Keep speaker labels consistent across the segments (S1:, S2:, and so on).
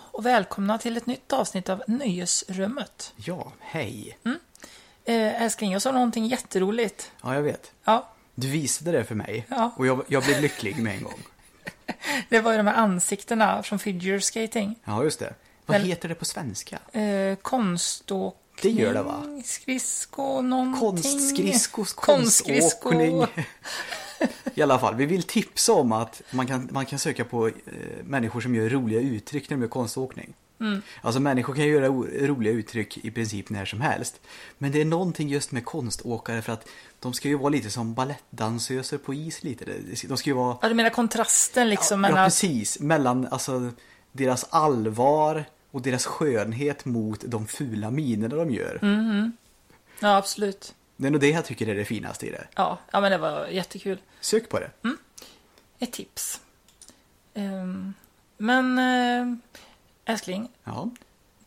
S1: och välkomna till ett nytt avsnitt av Nöjesrummet.
S2: Ja, hej.
S1: Eh, älskling, jag sa någonting jätteroligt.
S2: Ja, jag vet.
S1: Ja,
S2: Du visade det för mig
S1: Ja.
S2: och jag, jag blev lycklig med en gång.
S1: det var ju de här ansiktena från figure skating.
S2: Ja, just det. Vad
S1: Men-
S2: heter det på svenska?
S1: Eh, konståkning,
S2: Det gör det, va?
S1: Skridsko, någonting.
S2: Konstskridskos
S1: Konstskridsko.
S2: konståkning. I alla fall, vi vill tipsa om att man kan, man kan söka på eh, människor som gör roliga uttryck när de gör konståkning.
S1: Mm.
S2: Alltså människor kan göra o- roliga uttryck i princip när som helst. Men det är någonting just med konståkare för att de ska ju vara lite som balettdansöser på is lite. De ska ju vara
S1: Ja, du menar kontrasten liksom
S2: ja,
S1: mellan
S2: precis. Mellan alltså, deras allvar och deras skönhet mot de fula minerna de gör.
S1: Mm. Ja, absolut.
S2: Det är nog det jag tycker är det finaste i det.
S1: Ja, ja, men det var jättekul.
S2: Sök på det.
S1: Mm. Ett tips. Ehm, men eh, älskling,
S2: Ja.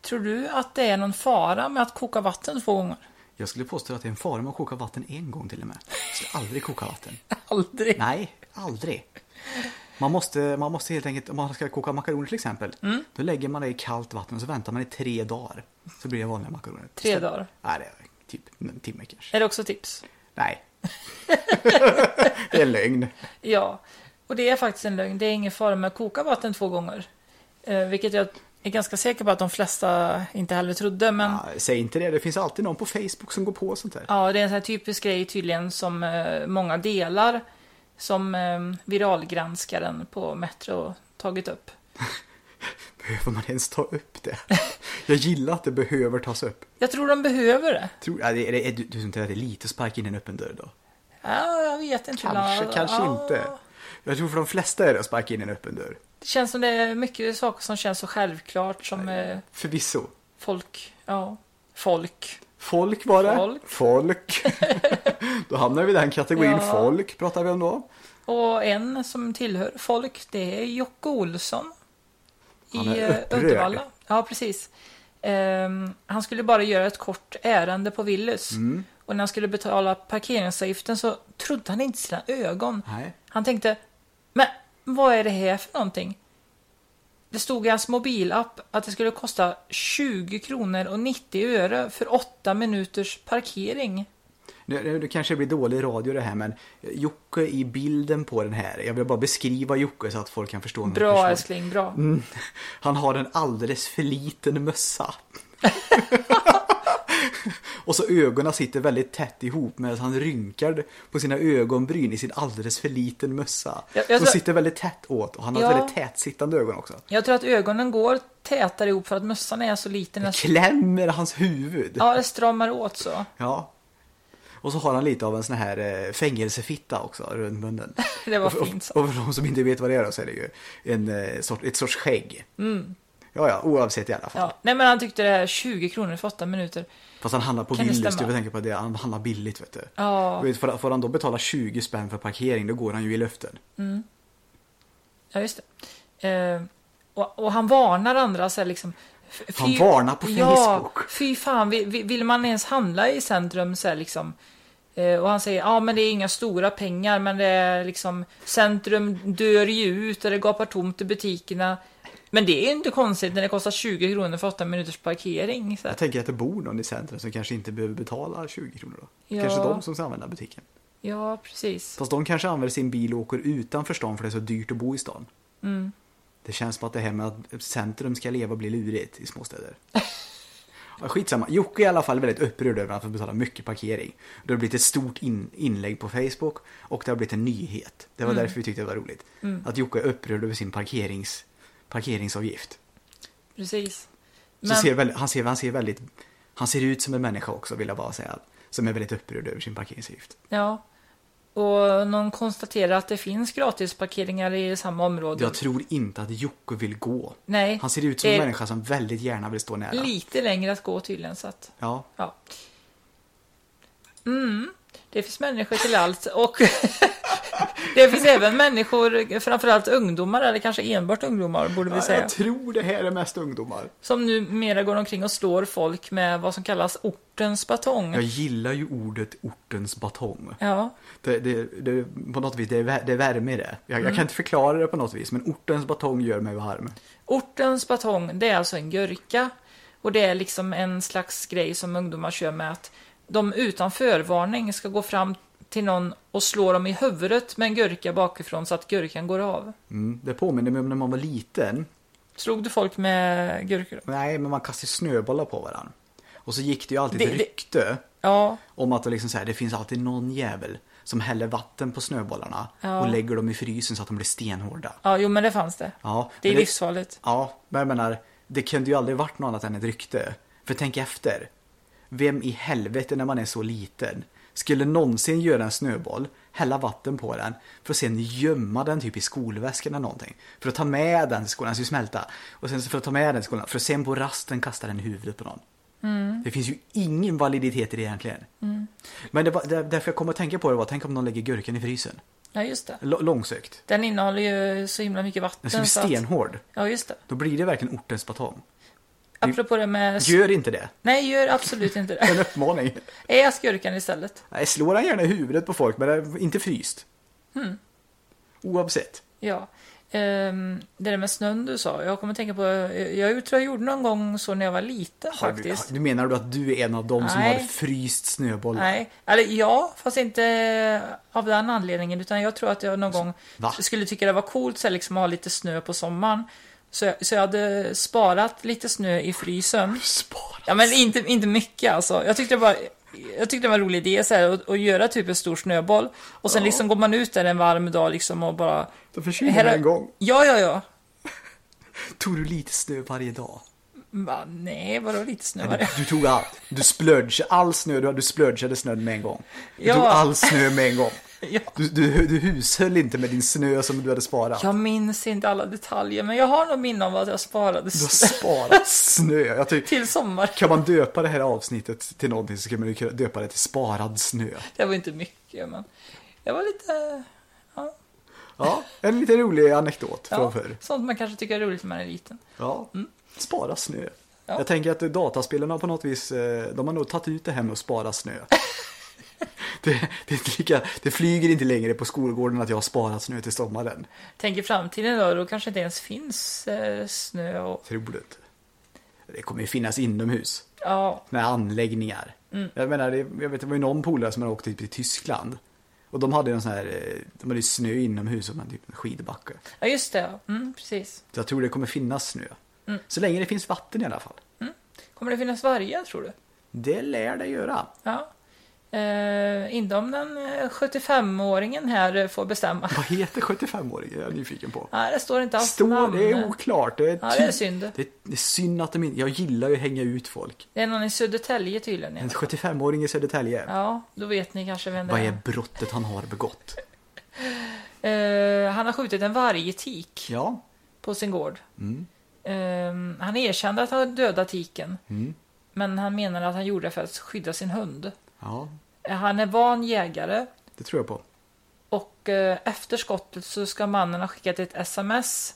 S1: tror du att det är någon fara med att koka vatten två gånger?
S2: Jag skulle påstå att det är en fara med att koka vatten en gång till och med. Jag skulle aldrig koka vatten.
S1: Aldrig.
S2: Nej, aldrig. Man måste, man måste helt enkelt, om man ska koka makaroner till exempel,
S1: Mm.
S2: då lägger man det i kallt vatten och så väntar man i tre dagar. Så blir det vanliga makaroner.
S1: Tre
S2: Så-
S1: dagar?
S2: Nej, det är typ en timme kanske.
S1: Är det också tips?
S2: Nej. det är lögn.
S1: Ja, och det är faktiskt en lögn. Det är ingen fara med att koka vatten två gånger. Eh, vilket jag är ganska säker på att de flesta inte heller trodde. Men ja,
S2: Ja, säg inte det, det finns alltid någon på Facebook som går på sånt där.
S1: det är en sån här typisk grej tydligen som eh, många delar. Som eh, viralgranskaren på Metro tagit upp.
S2: Behöver man ens ta upp det? Jag gillar att det behöver tas upp.
S1: Jag tror de behöver det.
S2: Tror, ja, det, är, det, är, du tror inte att det är lite att sparka in en öppen dörr då?
S1: Ja, jag vet inte.
S2: Kanske,
S1: ibland.
S2: kanske
S1: Ja,
S2: inte. Jag tror för de flesta är det att sparka in en öppen dörr.
S1: Det känns som det är mycket saker som känns så självklart som eh,
S2: Förvisso.
S1: folk, ja, folk.
S2: Folk var det.
S1: Folk.
S2: Folk. då hamnar vi i den kategorin
S1: Ja.
S2: folk, pratar vi om då.
S1: Och en som tillhör folk, det är Jocke Olsson.
S2: Han
S1: I
S2: är
S1: eh,
S2: upprörd.
S1: Uddevalla. Ja, precis. Ehm, han skulle bara göra ett kort ärende på Willys.
S2: Mm.
S1: Och när han skulle betala parkeringsavgiften så trodde han inte sina ögon.
S2: Nej.
S1: Han tänkte, men vad är det här för någonting? Det stod i hans mobilapp att det skulle kosta 20 kronor och 90 öre för 8 minuters
S2: Mm,
S1: parkering.
S2: Nu, nu, nu kanske det blir dålig radio det här men Jocke i bilden på den här. Jag vill bara beskriva Jocke så att folk kan förstå. honom
S1: Bra
S2: personligt.
S1: älskling, bra.
S2: Mm. Han har en alldeles för liten mössa. Och så ögonen sitter väldigt tätt ihop medan han rynkar på sina ögonbryn i sin alldeles för liten mössa.
S1: Jag- jag
S2: De
S1: tror-
S2: sitter väldigt tätt åt och han har
S1: alltså- Ja.
S2: ett väldigt tätsittande ögon också.
S1: Jag tror att ögonen går tätare ihop för att mössan är så liten. att-
S2: Klämmer hans huvud.
S1: Ja, det stramar åt så.
S2: Ja. Och så har han lite av en sån här eh, fängelsefitta också runt munnen.
S1: Det var
S2: och, för-
S1: fint sagt.
S2: Och, och för de som inte vet vad det är då så är det ju en, eh, sort, ett sorts skägg.
S1: Mm.
S2: Ja, ja, oavsett i alla fall.
S1: Ja. Nej, men han tyckte det här 20 kronor för 8 minuter.
S2: Fast han handlar på
S1: Kan det
S2: Willys, du
S1: stämma?
S2: får tänka på det. Han handlar billigt vet du.
S1: Ja.
S2: Du Vet, får, får han då betala 20 spänn för parkering, då går han ju i luften.
S1: Ja, just det. Eh, och, och han varnar andra så här liksom. f- fy-
S2: Han varnar på
S1: Ja,
S2: Facebook.
S1: fy fan, vi- vi- vill man ens handla i centrum så här liksom. Eh, och han säger, ja men det är inga stora pengar, men det är liksom centrum dör ju ut och det gapar tomt i butikerna. Men det är ju inte konstigt när det kostar 20 kronor för 8 minuters parkering. Så här.
S2: Jag tänker att det bor någon i centrum som kanske inte behöver betala 20 kronor då.
S1: Ja.
S2: Kanske de som ska använda butiken.
S1: Ja, precis.
S2: Fast de kanske använder sin bil och åker utanför stan för det är så dyrt att bo i stan. Det känns som att det här med att centrum ska leva blir lurigt i småstäder. Ja, Skitsamma. Jocke är i alla fall väldigt upprörd över att han får betala mycket parkering. Det har blivit ett stort in inlägg på Facebook och det har blivit en nyhet. Det var därför vi tyckte det var roligt. Att Jocke är upprörd över sin parkerings parkeringsavgift.
S1: precis.
S2: Så ser väl, han, ser, han, ser väldigt, han ser ut som en människa också vill jag bara säga. Som är väldigt upprörd över sin parkeringsavgift.
S1: Ja. Och någon konstaterar att det finns gratisparkeringar i samma område.
S2: Jag tror inte att Jocke vill gå.
S1: Nej,
S2: Han ser ut som en
S1: det är-
S2: människa som väldigt gärna vill stå nära.
S1: Lite längre att gå tydligen så att,
S2: Ja,
S1: ja. Mm. Det finns människor till allt och Det finns även människor, framförallt ungdomar, eller kanske enbart ungdomar borde vi
S2: Ja,
S1: säga.
S2: jag tror det här är mest ungdomar.
S1: Som numera går omkring och slår folk med vad som kallas ortens
S2: Jag
S1: batong.
S2: gillar ju ordet ortens batong.
S1: Ja,
S2: Det, det, det, på något vis, det är, vä- det är värme i det. Jag,
S1: Mm.
S2: jag kan inte förklara det på något vis, men ortens batong gör mig varm.
S1: Ortens batong, det är alltså en gurka. Och det är liksom en slags grej som ungdomar kör med att de utan förvarning ska gå fram till någon och slå dem i huvudet med en gurka bakifrån så att gurkan går av.
S2: Mm. Det påminner mig om när man var liten.
S1: Slog du folk med gurkor?
S2: Nej, men man kastade snöbollar på varandra. Och så gick det ju alltid
S1: Det-
S2: ett
S1: det-
S2: rykte
S1: Ja,
S2: om att det, liksom så här, det finns alltid någon jävel som häller vatten på snöbollarna
S1: Ja.
S2: och lägger dem i frysen så att de blir stenhårda.
S1: ja, jo men det fanns det.
S2: Ja,
S1: det är
S2: men det-
S1: livsfarligt.
S2: Ja, men jag menar, det kunde ju aldrig varit något annat än ett rykte. För tänk efter. Vem i helvete när man är så liten skulle någonsin göra en snöboll, hälla vatten på den för att sen gömma den typ i skolväskan eller någonting. För att ta med den till skolan, den ska ju smälta. Och sen så för att ta med den till skolan, för att sen på rasten kasta den i huvudet på någon. Det finns ju ingen validitet i det egentligen. Men det var, där- därför jag kom att tänka på det var, tänk om någon lägger gurkan i frysen.
S1: Ja, just det.
S2: L- långsökt.
S1: Den innehåller ju så himla mycket vatten.
S2: Den ska bli
S1: så att-
S2: stenhård.
S1: Ja, just det.
S2: Då blir det verkligen ortens batong.
S1: Apropå det med...
S2: Gör inte det.
S1: Nej, gör absolut inte det.
S2: En uppmaning.
S1: Ät gurkan istället.
S2: Nej, slår han gärna i huvudet på folk, men det är inte fryst.
S1: Hmm.
S2: Oavsett.
S1: Ja. Ehm, det där med snön du sa. Jag kommer att tänka på, jag, jag tror jag gjorde någon gång så när jag var liten
S2: Har du,
S1: faktiskt.
S2: du menar du att du är en av dem som
S1: Nej.
S2: har fryst snöbollar?
S1: Nej, eller ja, fast inte av den anledningen. Utan jag tror att jag någon gång
S2: Alltså, Va?
S1: skulle tycka det var coolt så här, liksom, att ha lite snö på sommaren. Så jag, så jag hade sparat lite snö i frysen.
S2: Spara.
S1: Ja, men inte, inte mycket alltså. Jag tyckte det var, jag tyckte det var en rolig idé så här, att, att göra typ en stor snöboll. Och sen liksom går man ut där en varm dag liksom, och bara...
S2: Då försvinner
S1: Här-
S2: den en gång.
S1: Ja, ja, ja.
S2: Tog du lite snö varje dag?
S1: Va, nej, vadå lite snö var
S2: Du,
S1: det?
S2: du tog allt. Du splurge, all snö, du, du splurgeade snön med en gång. Du
S1: Ja.
S2: tog all snö med en gång.
S1: Ja.
S2: Du, du, du hushöll inte med din snö som du hade sparat.
S1: Jag minns inte alla detaljer, men jag har nog minne om att jag sparade
S2: Du har
S1: snö
S2: sparat snö. Jag tycker,
S1: till sommar.
S2: kan man döpa det här avsnittet till någonting så kan man ju kunna döpa det till sparad snö.
S1: Det var inte mycket, men jag var lite...
S2: Ja, en lite rolig anekdot
S1: Ja,
S2: från förr.
S1: sånt man kanske tycker är roligt när man är liten.
S2: Ja. Spara snö.
S1: Ja.
S2: Jag tänker att dataspelarna på något vis, eh, de har nog tagit ut det här med att spara snö. det, det, är inte lika, det flyger inte längre på skolgården att jag har sparat snö till sommaren.
S1: Tänk i framtiden då, då kanske inte ens finns eh, snö och...
S2: Tror du inte? Det kommer ju finnas inomhus.
S1: Ja,
S2: med anläggningar. Jag menar, det, jag vet, det var ju någon polare som hade åkt typ till Tyskland. Och de hade ju någon sån här, eh, de hade ju snö inomhus och man typ en skidbacke.
S1: ja just det. ja. Mm, precis.
S2: Så jag tror det kommer finnas snö. Så länge det finns vatten i alla fall.
S1: Kommer det finnas vargar, tror du?
S2: Det lär det göra.
S1: Ja. Eh, inte om den eh, 75-åringen här eh, får bestämma.
S2: Vad heter 75-åringen? Jag är nyfiken på.
S1: Nej, det står inte alls
S2: Står,
S1: alltså, namn.
S2: det är oklart. Det är,
S1: Ja, det är
S2: ty-
S1: synd.
S2: Det, det är synd att de inte... Jag gillar ju att hänga ut folk.
S1: Det är någon i Södertälje tydligen.
S2: En
S1: Ja.
S2: 75-åring i Södertälje.
S1: ja, då vet ni kanske vem det
S2: Vad
S1: är.
S2: är brottet han har begått?
S1: Eh, han har skjutit en vargtik
S2: Ja,
S1: på sin gård.
S2: Mm.
S1: Eh, han erkände att han dödat tiken.
S2: Mm.
S1: Men han menade att han gjorde det för att skydda sin hund.
S2: ja,
S1: Eh, Han är van jägare
S2: det tror jag på.
S1: och eh, efter skottet så ska mannen ha skickat ett sms.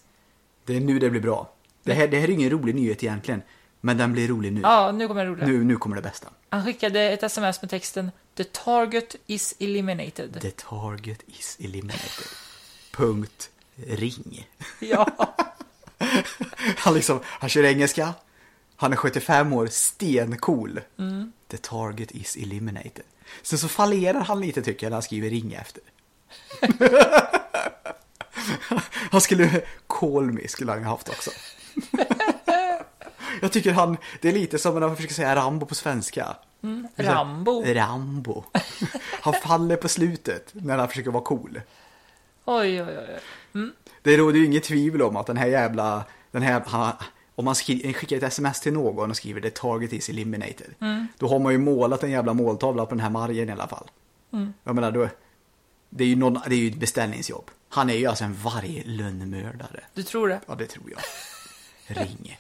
S2: Det är nu det blir bra. Det här, det här är ingen rolig nyhet egentligen, men den blir rolig nu.
S1: Ja, nu kommer det roliga.
S2: Nu, nu kommer det bästa.
S1: Han skickade ett sms med texten “The target is eliminated”.
S2: The target is eliminated. Punkt. Ring.
S1: Ja,
S2: Han, liksom, han kör engelska. Han är 75 år, stencool. The target is eliminated. Sen så fallerar han lite tycker jag när han skriver ring efter. han skulle, call me skulle han ha haft också. jag tycker han, det är lite som när man försöker säga Rambo på svenska.
S1: Rambo.
S2: Rambo. Han faller på slutet när han försöker vara cool.
S1: Oj, oj, oj.
S2: Det råder ju inget tvivel om att den här jävla, den här, han, om man skri, skickar ett sms till någon och skriver det target is eliminated. Då har man ju målat en jävla måltavla på den här margen i alla fall. Jag menar, då, det, är ju någon, det är ju ett beställningsjobb. Han är ju alltså en varglönnmördare.
S1: Du tror det?
S2: Ja, det tror jag. Ring.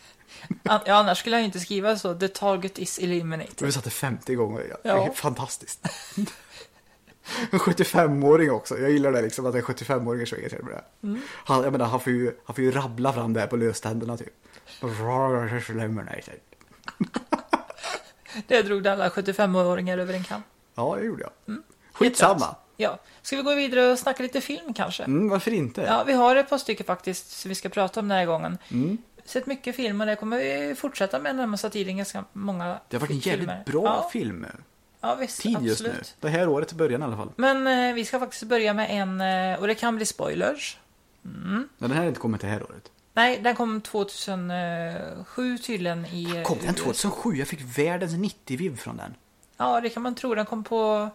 S1: An- Ja, annars skulle jag ju inte skriva så. “The target is eliminated”.
S2: Du satte 50 gånger. Ja.
S1: Ja.
S2: Fantastiskt. En 75-åring också. Jag gillar det liksom att en 75-åring är så irriterad på det. Han, jag menar, han, får ju, han får ju rabbla fram det här på löständerna typ.
S1: Det drog alla 75-åringar över en kam.
S2: Ja, det gjorde jag. Skitsamma.
S1: Ja. Ska vi gå vidare och snacka lite film kanske?
S2: Mm, varför inte?
S1: Ja, vi har ett par stycken faktiskt som vi ska prata om den här gången.
S2: Mm.
S1: Sett mycket film och det kommer vi fortsätta med den närmsta tiden. Ganska många
S2: Det har varit en jävligt
S1: filmer.
S2: bra
S1: ja,
S2: film
S1: Ja, visst.
S2: tid just
S1: absolut.
S2: nu. Det här året i början i alla fall.
S1: Men eh, vi ska faktiskt börja med en, eh, och det kan bli spoilers.
S2: Men den här har inte kommit det här året.
S1: Nej, den kom 2007 tydligen i...
S2: Kom den 2007? Jag fick världens 90-vibb från den.
S1: Ja, det kan man tro. Den kom på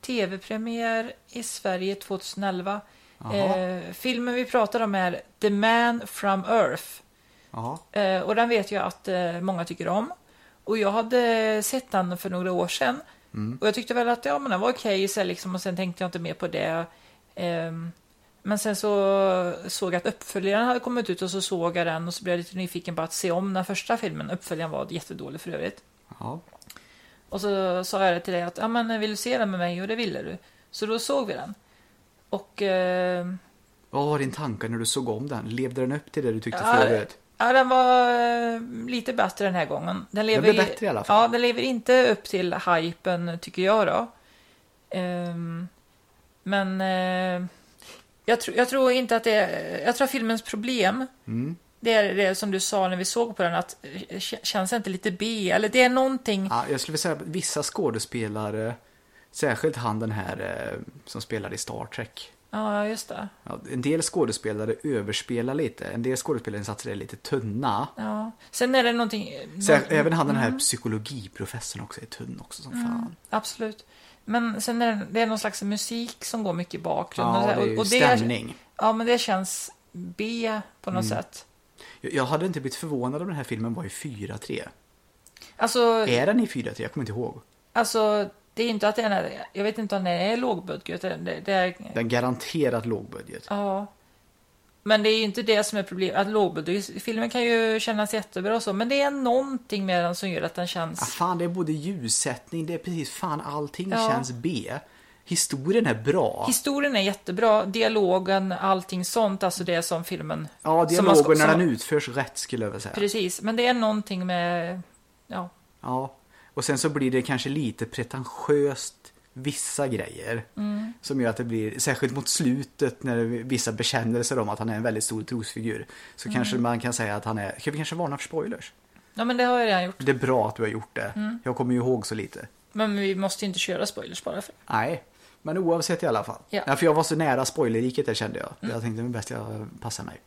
S1: tv-premiär i Sverige 2011.
S2: Jaha.
S1: Eh, filmen vi pratar om är The Man from Earth.
S2: Ja.
S1: Eh, och den vet jag att eh, många tycker om. Och jag hade sett den för några år sedan. Och jag tyckte väl att ja, men den var okej så här liksom, och sen tänkte jag inte mer på det. Ehm, men sen så såg jag att uppföljaren hade kommit ut och så såg jag den och så blev jag lite nyfiken på att se om den första filmen. Uppföljaren var jättedålig för övrigt.
S2: ja.
S1: Och så sa jag det till dig att ja, men vill du se den med mig? Och det ville du. Så då såg vi den. Och eh,
S2: Vad var din tanke när du såg om den? Levde den upp till det du tyckte
S1: Ja,
S2: förra året?
S1: ja, den var eh, lite bättre den här gången. Den lever,
S2: blev bättre i alla fall.
S1: Ja, den lever inte upp till hypen tycker jag då. Ehm, men eh, jag, tro, jag tror inte att det är, Jag tror att filmens problem
S2: Mm.
S1: Det är det som du sa när vi såg på den att eh, k- känns det inte lite B eller det är någonting
S2: Ja, jag skulle vilja säga att vissa skådespelare, särskilt han den här eh, som spelade i Star Trek.
S1: Ja, just det.
S2: Ja, en del skådespelare överspelar lite, en del skådespelarinsatser är lite tunna.
S1: Ja. Sen är det någonting
S2: Sär, Även han den här psykologiprofessorn också är tunn också som fan.
S1: Absolut. Men sen är det, det är någon slags musik som går mycket i bakgrunden.
S2: Ja,
S1: och, så här,
S2: det är ju
S1: och
S2: stämning. Mm.
S1: Ja, men det känns B på något sätt.
S2: Jag, jag hade inte blivit förvånad om den här filmen var i 4-3.
S1: Alltså,
S2: Är den i 4-3? Jag kommer inte ihåg.
S1: alltså, det är inte att den är, jag vet inte om den är lågbudget. Det, det, det är,
S2: Den garanterat lågbudget.
S1: ja. Men det är ju inte det som är problemet. Att lågbudgetfilmer kan ju kännas jättebra och så, men det är någonting med den som gör att den
S2: Ja,
S1: känns...
S2: Ah, fan, det är både ljussättning, det är precis fan allting
S1: Ja.
S2: känns B. Historien är bra.
S1: Historien är jättebra, dialogen, allting sånt, alltså det som filmen...
S2: ja,
S1: som man ska-
S2: dialogen när
S1: som-
S2: den utförs rätt skulle jag vilja säga.
S1: Precis, men det är någonting med... Ja,
S2: Ja, och sen så blir det kanske lite pretentiöst vissa grejer.
S1: Mm.
S2: Som gör att det blir, särskilt mot slutet när vissa bekänner sig om att han är en väldigt stor trosfigur. Så
S1: Mm.
S2: kanske man kan säga att han är, kan vi kanske varna för spoilers?
S1: ja men det har jag redan gjort.
S2: Det är bra att du har gjort det.
S1: Mm.
S2: Jag kommer ju ihåg så lite.
S1: Men vi måste ju inte köra spoilers bara för
S2: Nej, men oavsett i alla fall.
S1: Ja.
S2: för jag var så nära spoileriket där kände jag. Jag tänkte det är bäst jag passar mig.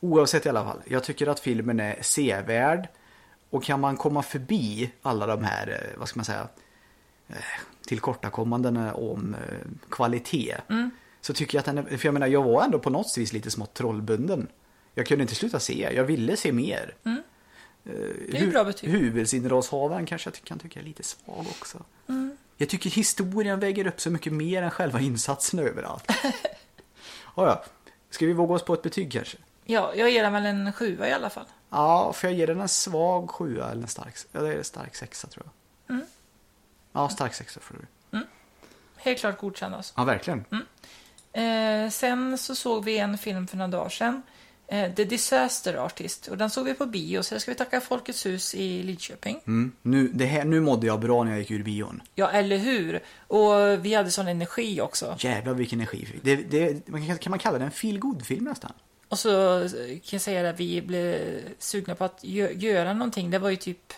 S2: Oavsett i alla fall. Jag tycker att filmen är sevärd. Och kan man komma förbi alla de här, eh, vad ska man säga, eh, tillkortakommandena om eh, kvalitet.
S1: Mm.
S2: Så tycker jag att den är, för jag menar jag var ändå på något vis lite smått trollbunden. Jag kunde inte sluta se, jag ville se mer.
S1: Mm.
S2: Eh,
S1: Det är ju bra betyg.
S2: Huvudsinnehållshavaren kanske jag ty- kan tycka är lite svag också.
S1: Mm.
S2: Jag tycker historien väger upp så mycket mer än själva insatsen överallt. ja, ja. Ska vi våga oss på ett betyg kanske?
S1: Ja, jag ger den väl en sjua i alla fall.
S2: Ja, för jag ger den en svag sjua eller en stark, eller en stark sexa tror jag.
S1: Mm.
S2: Ja, stark sexa får du.
S1: Helt klart godkänd alltså.
S2: Ja, verkligen.
S1: Eh, sen så såg vi en film för några dagar sedan. Eh, The Disaster Artist. Och den såg vi på bio, så det ska vi tacka Folkets hus i Lidköping.
S2: Mm. Nu, det här, nu mådde jag bra när jag gick ur bion.
S1: Ja, eller hur? Och vi hade sån energi också.
S2: Jävlar vilken energi jag fick. Det, det, man kan, kan man kalla det en feel film nästan?
S1: Och så eh, kan jag säga att vi blev sugna på att gö- göra någonting. Det var ju typ,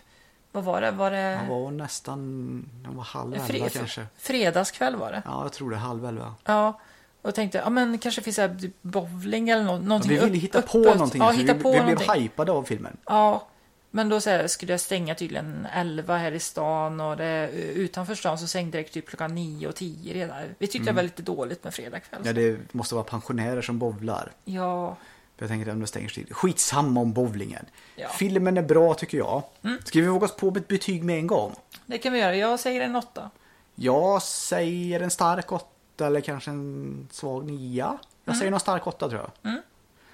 S1: vad var det? Var det
S2: Den var nästan, den var halv elva
S1: fre-
S2: kanske.
S1: fredagskväll var det?
S2: Ja, jag tror det, halv elva.
S1: Ja, och tänkte, ja men kanske finns det här typ bowling eller nå- någonting.
S2: Vi ville
S1: upp-
S2: hitta på
S1: uppåt.
S2: någonting.
S1: Ja,
S2: så
S1: hitta
S2: vi,
S1: på
S2: vi
S1: någonting.
S2: blev hypade av filmen.
S1: Ja, men då så här, skulle jag stänga tydligen 11 här i stan och det, utanför stan så stängde det typ klockan 9 och 10 redan. Vi tyckte det var lite dåligt med fredagkväll.
S2: Mm. Ja, det måste vara pensionärer som bowlar.
S1: ja,
S2: För jag tänker att det stänger sig. Skitsamma om bowlingen.
S1: Ja. Mm.
S2: Filmen är bra tycker jag. Ska vi våga oss på ett betyg med en gång?
S1: det kan vi göra. Jag säger en åtta.
S2: Jag säger en stark åtta eller kanske en svag nia. Jag säger någon stark åtta tror jag.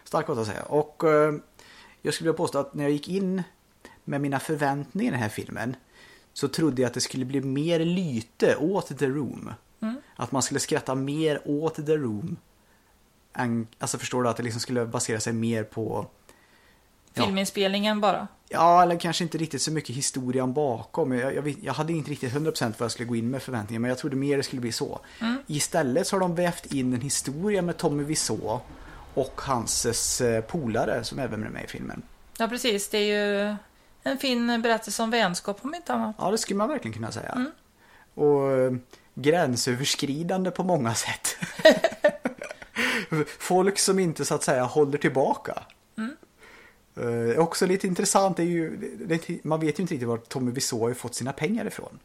S2: Stark åtta säger jag. Och eh, jag skulle vilja påstå att när jag gick in med mina förväntningar i den här filmen så trodde jag att det skulle bli mer lyte åt The Room. Att man skulle skratta mer åt The Room. Än, alltså förstår du att det liksom skulle basera sig mer på Ja.
S1: Filminspelningen bara.
S2: Ja, eller kanske inte riktigt så mycket historien bakom. Jag, jag, vet- jag hade inte riktigt 100% vad jag skulle gå in med förväntningar, men jag trodde mer det skulle bli så. Istället så har de vävt in en historia med Tommy Wiseau och hans eh, polare som även är med i filmen.
S1: Ja, precis. Det är ju en fin berättelse om vänskap om inte annat.
S2: Ja, det skulle man verkligen kunna säga. Och eh, gränsöverskridande på många sätt. Folk som inte så att säga håller tillbaka. Eh, också lite intressant är ju, det, det, man vet ju inte riktigt var Tommy Wiseau har ju fått sina pengar ifrån.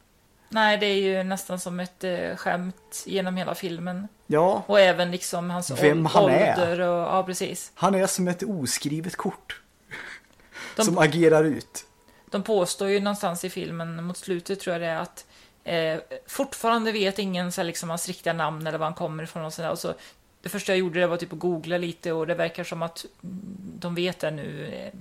S1: Nej, det är ju nästan som ett eh, skämt genom hela filmen.
S2: Ja,
S1: Och även liksom hans
S2: Vem
S1: ål-
S2: han är.
S1: ålder och, ja precis.
S2: Han är som ett oskrivet kort.
S1: De-
S2: Som agerar ut.
S1: De påstår ju någonstans i filmen mot slutet tror jag det är att eh, fortfarande vet ingen så här, liksom, hans riktiga namn eller var han kommer ifrån och sådär. Och så, det första jag gjorde det var typ att googla lite och det verkar som att mm, de vet det nu. Eh,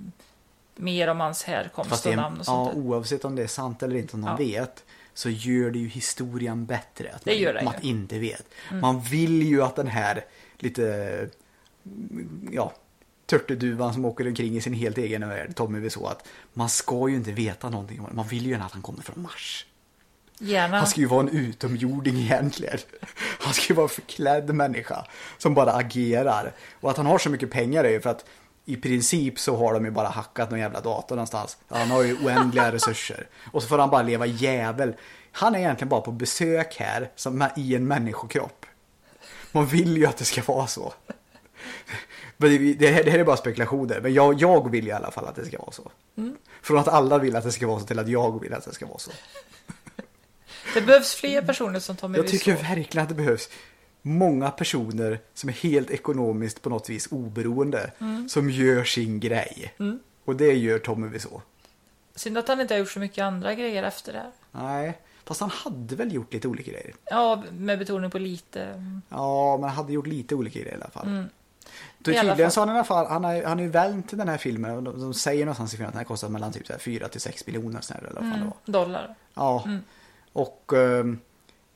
S1: mer om hans härkomst och namn och sånt
S2: ja,
S1: där.
S2: oavsett om det är sant eller inte, om de
S1: Ja.
S2: vet. Så gör det ju historien bättre. Att
S1: Det gör det Mm.
S2: man,
S1: ju.
S2: att inte vet. Man vill ju att den här lite, mm, ja, törteduvan som åker omkring i sin helt egen värld, Tommy Wiseau, att man ska ju inte veta någonting. om honom. Man vill ju gärna att han kommer från Mars.
S1: Gärna.
S2: Han ska ju vara en utomjording egentligen. Han ska ju vara en förklädd människa som bara agerar. Och att han har så mycket pengar är ju för att i princip så har de ju bara hackat någon jävla dator någonstans. Han har ju oändliga resurser. Och så får han bara leva djävul. Han är egentligen bara på besök här som i en människokropp. Man vill ju att det ska vara så. Men det- Det här, det här är bara spekulationer, men jag, jag vill ju i alla fall att det ska vara så. Från att alla vill att det ska vara så till att jag vill att det ska vara så.
S1: Det behövs fler personer som Tommy
S2: Jag tycker
S1: Wiseau.
S2: verkligen att det behövs många personer som är helt ekonomiskt på något vis oberoende.
S1: Mm.
S2: Som gör sin grej. Och det gör Tommy Wiseau.
S1: Synd att han inte har gjort så mycket andra grejer efter det här.
S2: Nej, fast han hade väl gjort lite olika grejer.
S1: Ja, med betoning på lite. mm,
S2: Ja, men han hade gjort lite olika grejer i alla fall. Då
S1: I alla
S2: tydligen
S1: fall.
S2: så har han i alla fall, han har, han har ju vänt till den här filmen. och De, de säger någonstans i filmen att den här kostar mellan typ 4 till 6 miljoner snarare, eller vad
S1: Mm.
S2: fan det var.
S1: Dollar.
S2: Ja. Och ehm,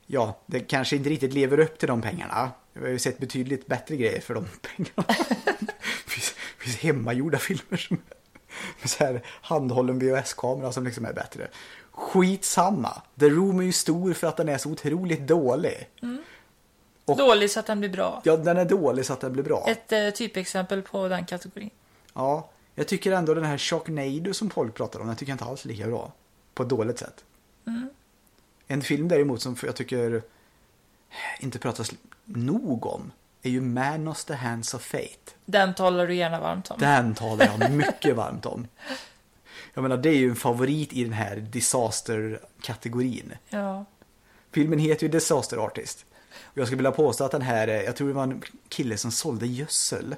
S2: ja, det kanske inte riktigt lever upp till de pengarna. Vi har ju sett betydligt bättre grejer för de pengarna. det finns, det finns hemmagjorda filmer som med så här handhållen VHS-kamera som liksom är bättre. Skitsamma! The Room är ju stor för att den är så otroligt dålig. Och-
S1: Dålig så att den blir bra.
S2: Ja, den är dålig så att den blir bra.
S1: Ett eh, typexempel på den kategorin.
S2: Ja, jag tycker ändå den här Sharknado som folk pratar om, den tycker jag inte alls är lika bra. På ett dåligt sätt. En film däremot som jag tycker inte pratas nog om är ju Man of the Hands of Fate.
S1: Den talar du gärna varmt om.
S2: Den talar jag mycket varmt om. Jag menar, det är ju en favorit i den här disaster-kategorin.
S1: Ja.
S2: Filmen heter ju Disaster Artist. Och jag skulle vilja påstå att den här, eh, jag tror det var en kille som sålde gödsel.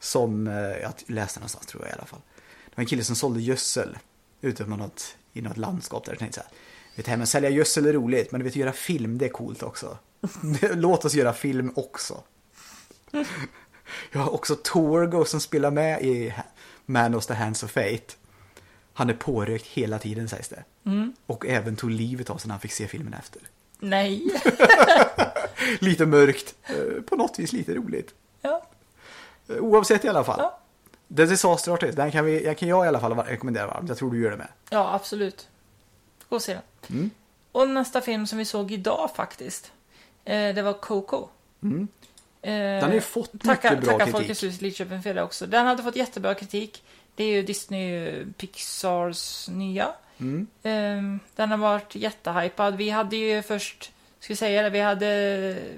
S2: Som, eh, jag läste någonstans tror jag i alla fall. Det var en kille som sålde gödsel ute på något, i något landskap där. Jag tänkte så här, vet du, här med att sälja gödsel är roligt, men du vet göra film det är coolt också. Låt oss göra film också. Jag har också Torgo som spelar med i Man of the Hands of Fate. Han är pårökt hela tiden sägs det. Och även tog livet av sig när han fick se filmen efter.
S1: Nej.
S2: Lite mörkt, eh, på något vis lite roligt.
S1: Ja.
S2: Eh, Oavsett i alla fall.
S1: Ja.
S2: The Disaster Artist, den kan, vi, den kan jag i alla fall var- rekommendera varmt. Jag tror du gör det med.
S1: ja, absolut. Gå och se den.
S2: Mm.
S1: Och nästa film som vi såg idag faktiskt. Eh, det var Coco. Eh,
S2: Mm. Den har ju fått mycket
S1: tacka,
S2: bra
S1: tacka
S2: kritik.
S1: Folkets hus i Lidköping för det också. Den hade fått jättebra kritik. Det är ju Disney eh, Pixars nya.
S2: Mm.
S1: Eh, den har varit jättehypad. Vi hade ju först, ska jag säga det, vi hade,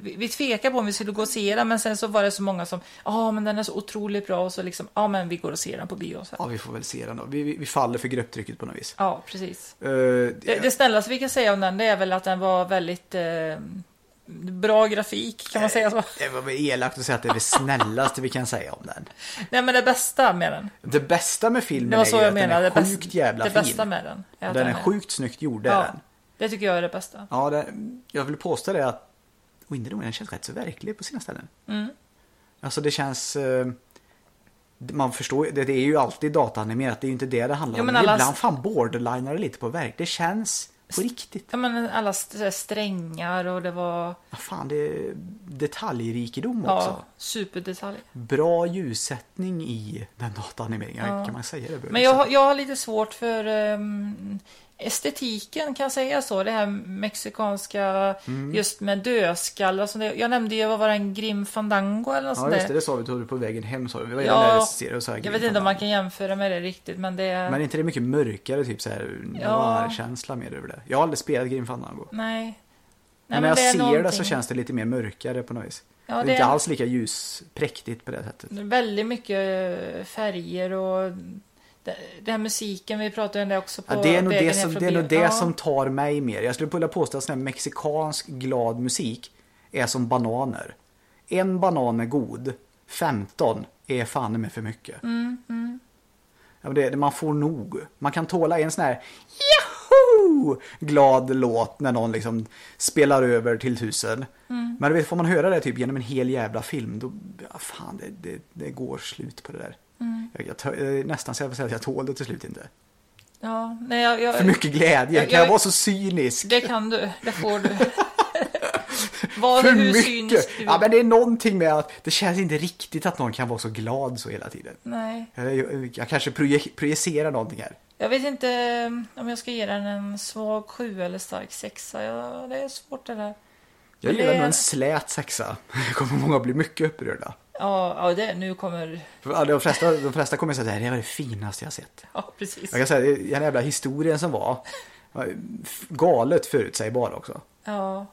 S1: vi, vi tvekade på om vi skulle gå och se den men sen så var det så många som, ja men den är så otroligt bra och så liksom, ja men vi går och ser den på bio. Så. här.
S2: Ja, vi får väl se den då. Vi, vi, vi faller för grupptrycket på något vis.
S1: Ja, precis.
S2: Eh,
S1: Det, det snällaste vi kan säga om den det är väl att den var väldigt eh, bra grafik, kan man säga så?
S2: det var väl elakt att säga att det är det snällaste vi kan säga om den.
S1: Nej men det bästa med den.
S2: Det bästa med filmen
S1: Det var
S2: är
S1: så
S2: ju
S1: jag
S2: att
S1: menade.
S2: den är
S1: det
S2: sjukt
S1: bäst-
S2: jävla
S1: Det
S2: fin.
S1: bästa med den. är att
S2: Den är sjukt snyggt gjord, det är
S1: ja,
S2: den.
S1: Det tycker jag är det bästa.
S2: Ja, det, jag vill påstå det att och inte nog med, den känns rätt så verklig på sina ställen.
S1: Mm.
S2: Alltså det känns... eh, Man förstår ju- det, det är ju alltid dataanimerat, det är ju inte det det handlar
S1: Jo,
S2: om.
S1: men
S2: Men
S1: alla-
S2: Ibland fan borderlinar det lite på verk. Det känns På riktigt.
S1: Ja, men alla st- strängar och det var
S2: Ja, Fan, det är detaljrikedom också.
S1: ja, superdetaljer.
S2: Bra ljussättning i den dataanimeringen. Kan man säga det? liksom. Börje?
S1: Men jag, har- jag har lite svårt för ehm, estetiken, kan jag säga så? Det här mexikanska,
S2: Mm.
S1: just med dödskallar och sånt där. Jag nämnde ju, vad var det, en Grim Fandango eller något
S2: Ja,
S1: sånt
S2: just det.
S1: där.
S2: Det sa vi tog du på vägen hem. Sa vi. Vad är
S1: Ja,
S2: den där serien? Så här,
S1: Jag vet inte om man kan jämföra med det riktigt, men det är...
S2: Men är inte det mycket mörkare, typ så här
S1: Ja.
S2: noir-känsla mer över det? Jag har aldrig spelat Grim Fandango. Men,
S1: Nej. Nej,
S2: när jag
S1: är
S2: ser det så
S1: någonting-
S2: känns det lite mer mörkare på något vis.
S1: Ja,
S2: det är
S1: det
S2: inte
S1: är-
S2: alls lika ljuspräktigt på det sättet.
S1: Väldigt mycket eh, färger och det- den här musiken, vi pratade om det också på
S2: Ja, det är nog
S1: vägen
S2: det,
S1: hem
S2: som,
S1: från
S2: det, är nog
S1: bio.
S2: det
S1: Ja.
S2: som tar mig mer. Jag skulle vilja påstå att sån här mexikansk glad musik är som bananer. En banan är god, 15 är fan med för mycket.
S1: Mm,
S2: Ja, men det, det- man får nog. Man kan tåla en sån här Yahoo! glad låt när någon liksom spelar över till tusen.
S1: Mm.
S2: Men du vet, får man höra det typ genom en hel jävla film då, ja, fan det, det, det går slut på det där.
S1: Mm.
S2: Jag, jag, tö- eh, nästan så jag vill säga att jag tål det till slut inte.
S1: Ja, nej, jag, jag,
S2: För mycket glädje.
S1: Jag-
S2: Kan jag
S1: jag-
S2: vara så cynisk?
S1: Det kan du, det får du. Var
S2: För
S1: hur
S2: mycket!
S1: cynisk du
S2: Ja, men det är någonting med att det känns inte riktigt att någon kan vara så glad så hela tiden.
S1: Nej,
S2: Jag, jag kanske proje- projicerar någonting här.
S1: jag vet inte eh, om jag ska ge den en svag sju eller stark sexa. Ja, det är svårt det där.
S2: Jag
S1: Men
S2: gillar
S1: det-
S2: nog en slät sexa. Jag kommer många bli mycket upprörda.
S1: Ja, ja det, nu kommer...
S2: För alla- De flesta, de flesta kommer säga att det här var det finaste jag sett.
S1: Ja, precis.
S2: Jag kan säga att den jävla historien som var var galet förutsägbar också.
S1: Ja.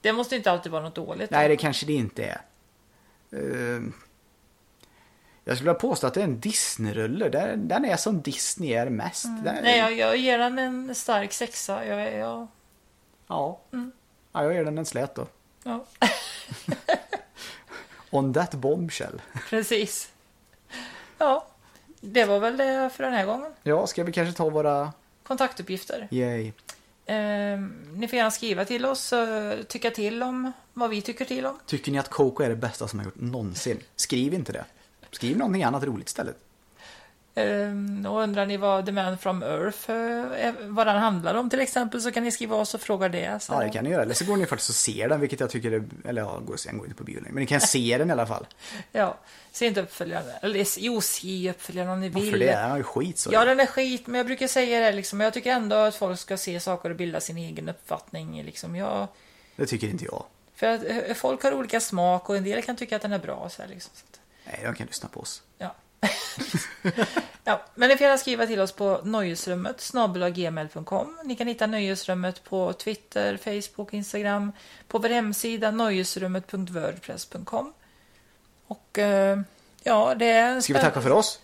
S1: Det måste inte alltid vara något dåligt.
S2: Nej, det kanske det inte är. Eh, Jag skulle vilja påstå att det är en Disney-rulle. Den, den är som Disney är mest. Den är,
S1: Mm. Nej, jag, jag ger den en stark sexa. Jag, jag,
S2: Ja.
S1: Mm.
S2: ja, jag ger den en slät då.
S1: ja,
S2: On that bombshell.
S1: precis. Ja, det var väl det för den här gången.
S2: Ja, ska vi kanske ta våra...
S1: Kontaktuppgifter.
S2: Yay.
S1: Eh, ni får gärna skriva till oss och tycka till om vad vi tycker till om.
S2: Tycker ni att Coco är det bästa som har gjort någonsin? Skriv inte det. Skriv någonting annat roligt istället.
S1: Ehm, Och undrar ni vad The Man from Earth, eh, är- vad den handlar om till exempel, så kan ni skriva oss och fråga det. Så.
S2: Ja, det kan ni göra. Eller så går ni faktiskt och ser den, vilket jag tycker är... Eller ja, går och ser, den går inte på bio längre. Men ni kan se den i alla fall.
S1: Ja, se inte uppföljaren. Eller jo, se uppföljaren om ni vill.
S2: För det är ju skit så.
S1: Ja, den är skit, men jag brukar säga det liksom. Jag tycker ändå att folk ska se saker och bilda sin egen uppfattning. Liksom. Jag,
S2: Det tycker inte jag.
S1: för att eh, folk har olika smak och en del kan tycka att den är bra. Så här, liksom. så att,
S2: Nej, de kan lyssna på oss.
S1: ja. ja, men ni får gärna skriva till oss på nöjesrummet snabel-gmail.com. Ni kan hitta nöjesrummet på Twitter, Facebook, Instagram, på vår hemsida nöjesrummet.wordpress.com. Och eh, ja, det är en
S2: Ska vi tacka för oss?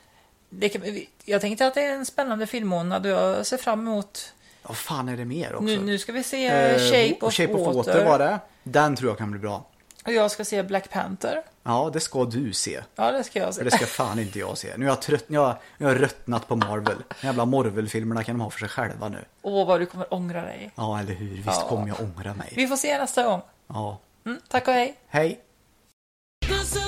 S1: det kan, vi- jag tänkte att det är en spännande filmmånad och jag ser fram emot
S2: Vad fan är det mer också?
S1: Nu, nu ska vi se
S2: Eh,
S1: Shape, of
S2: Shape of
S1: Water.
S2: Water. var det. Den tror jag kan bli bra.
S1: Och jag ska se Black Panther.
S2: Ja, det ska du se.
S1: Ja, det ska jag
S2: För
S1: se.
S2: det ska fan inte jag se. Nu har jag, trött, jag, har- jag har röttnat på Marvel. De jävla Marvel-filmerna kan de ha för sig själva nu.
S1: Åh, vad du kommer ångra dig.
S2: Ja, eller hur. Visst
S1: Ja.
S2: kommer jag ångra mig.
S1: Vi får se nästa gång.
S2: Ja.
S1: Mm, tack och hej.
S2: Hej.
S3: Cause the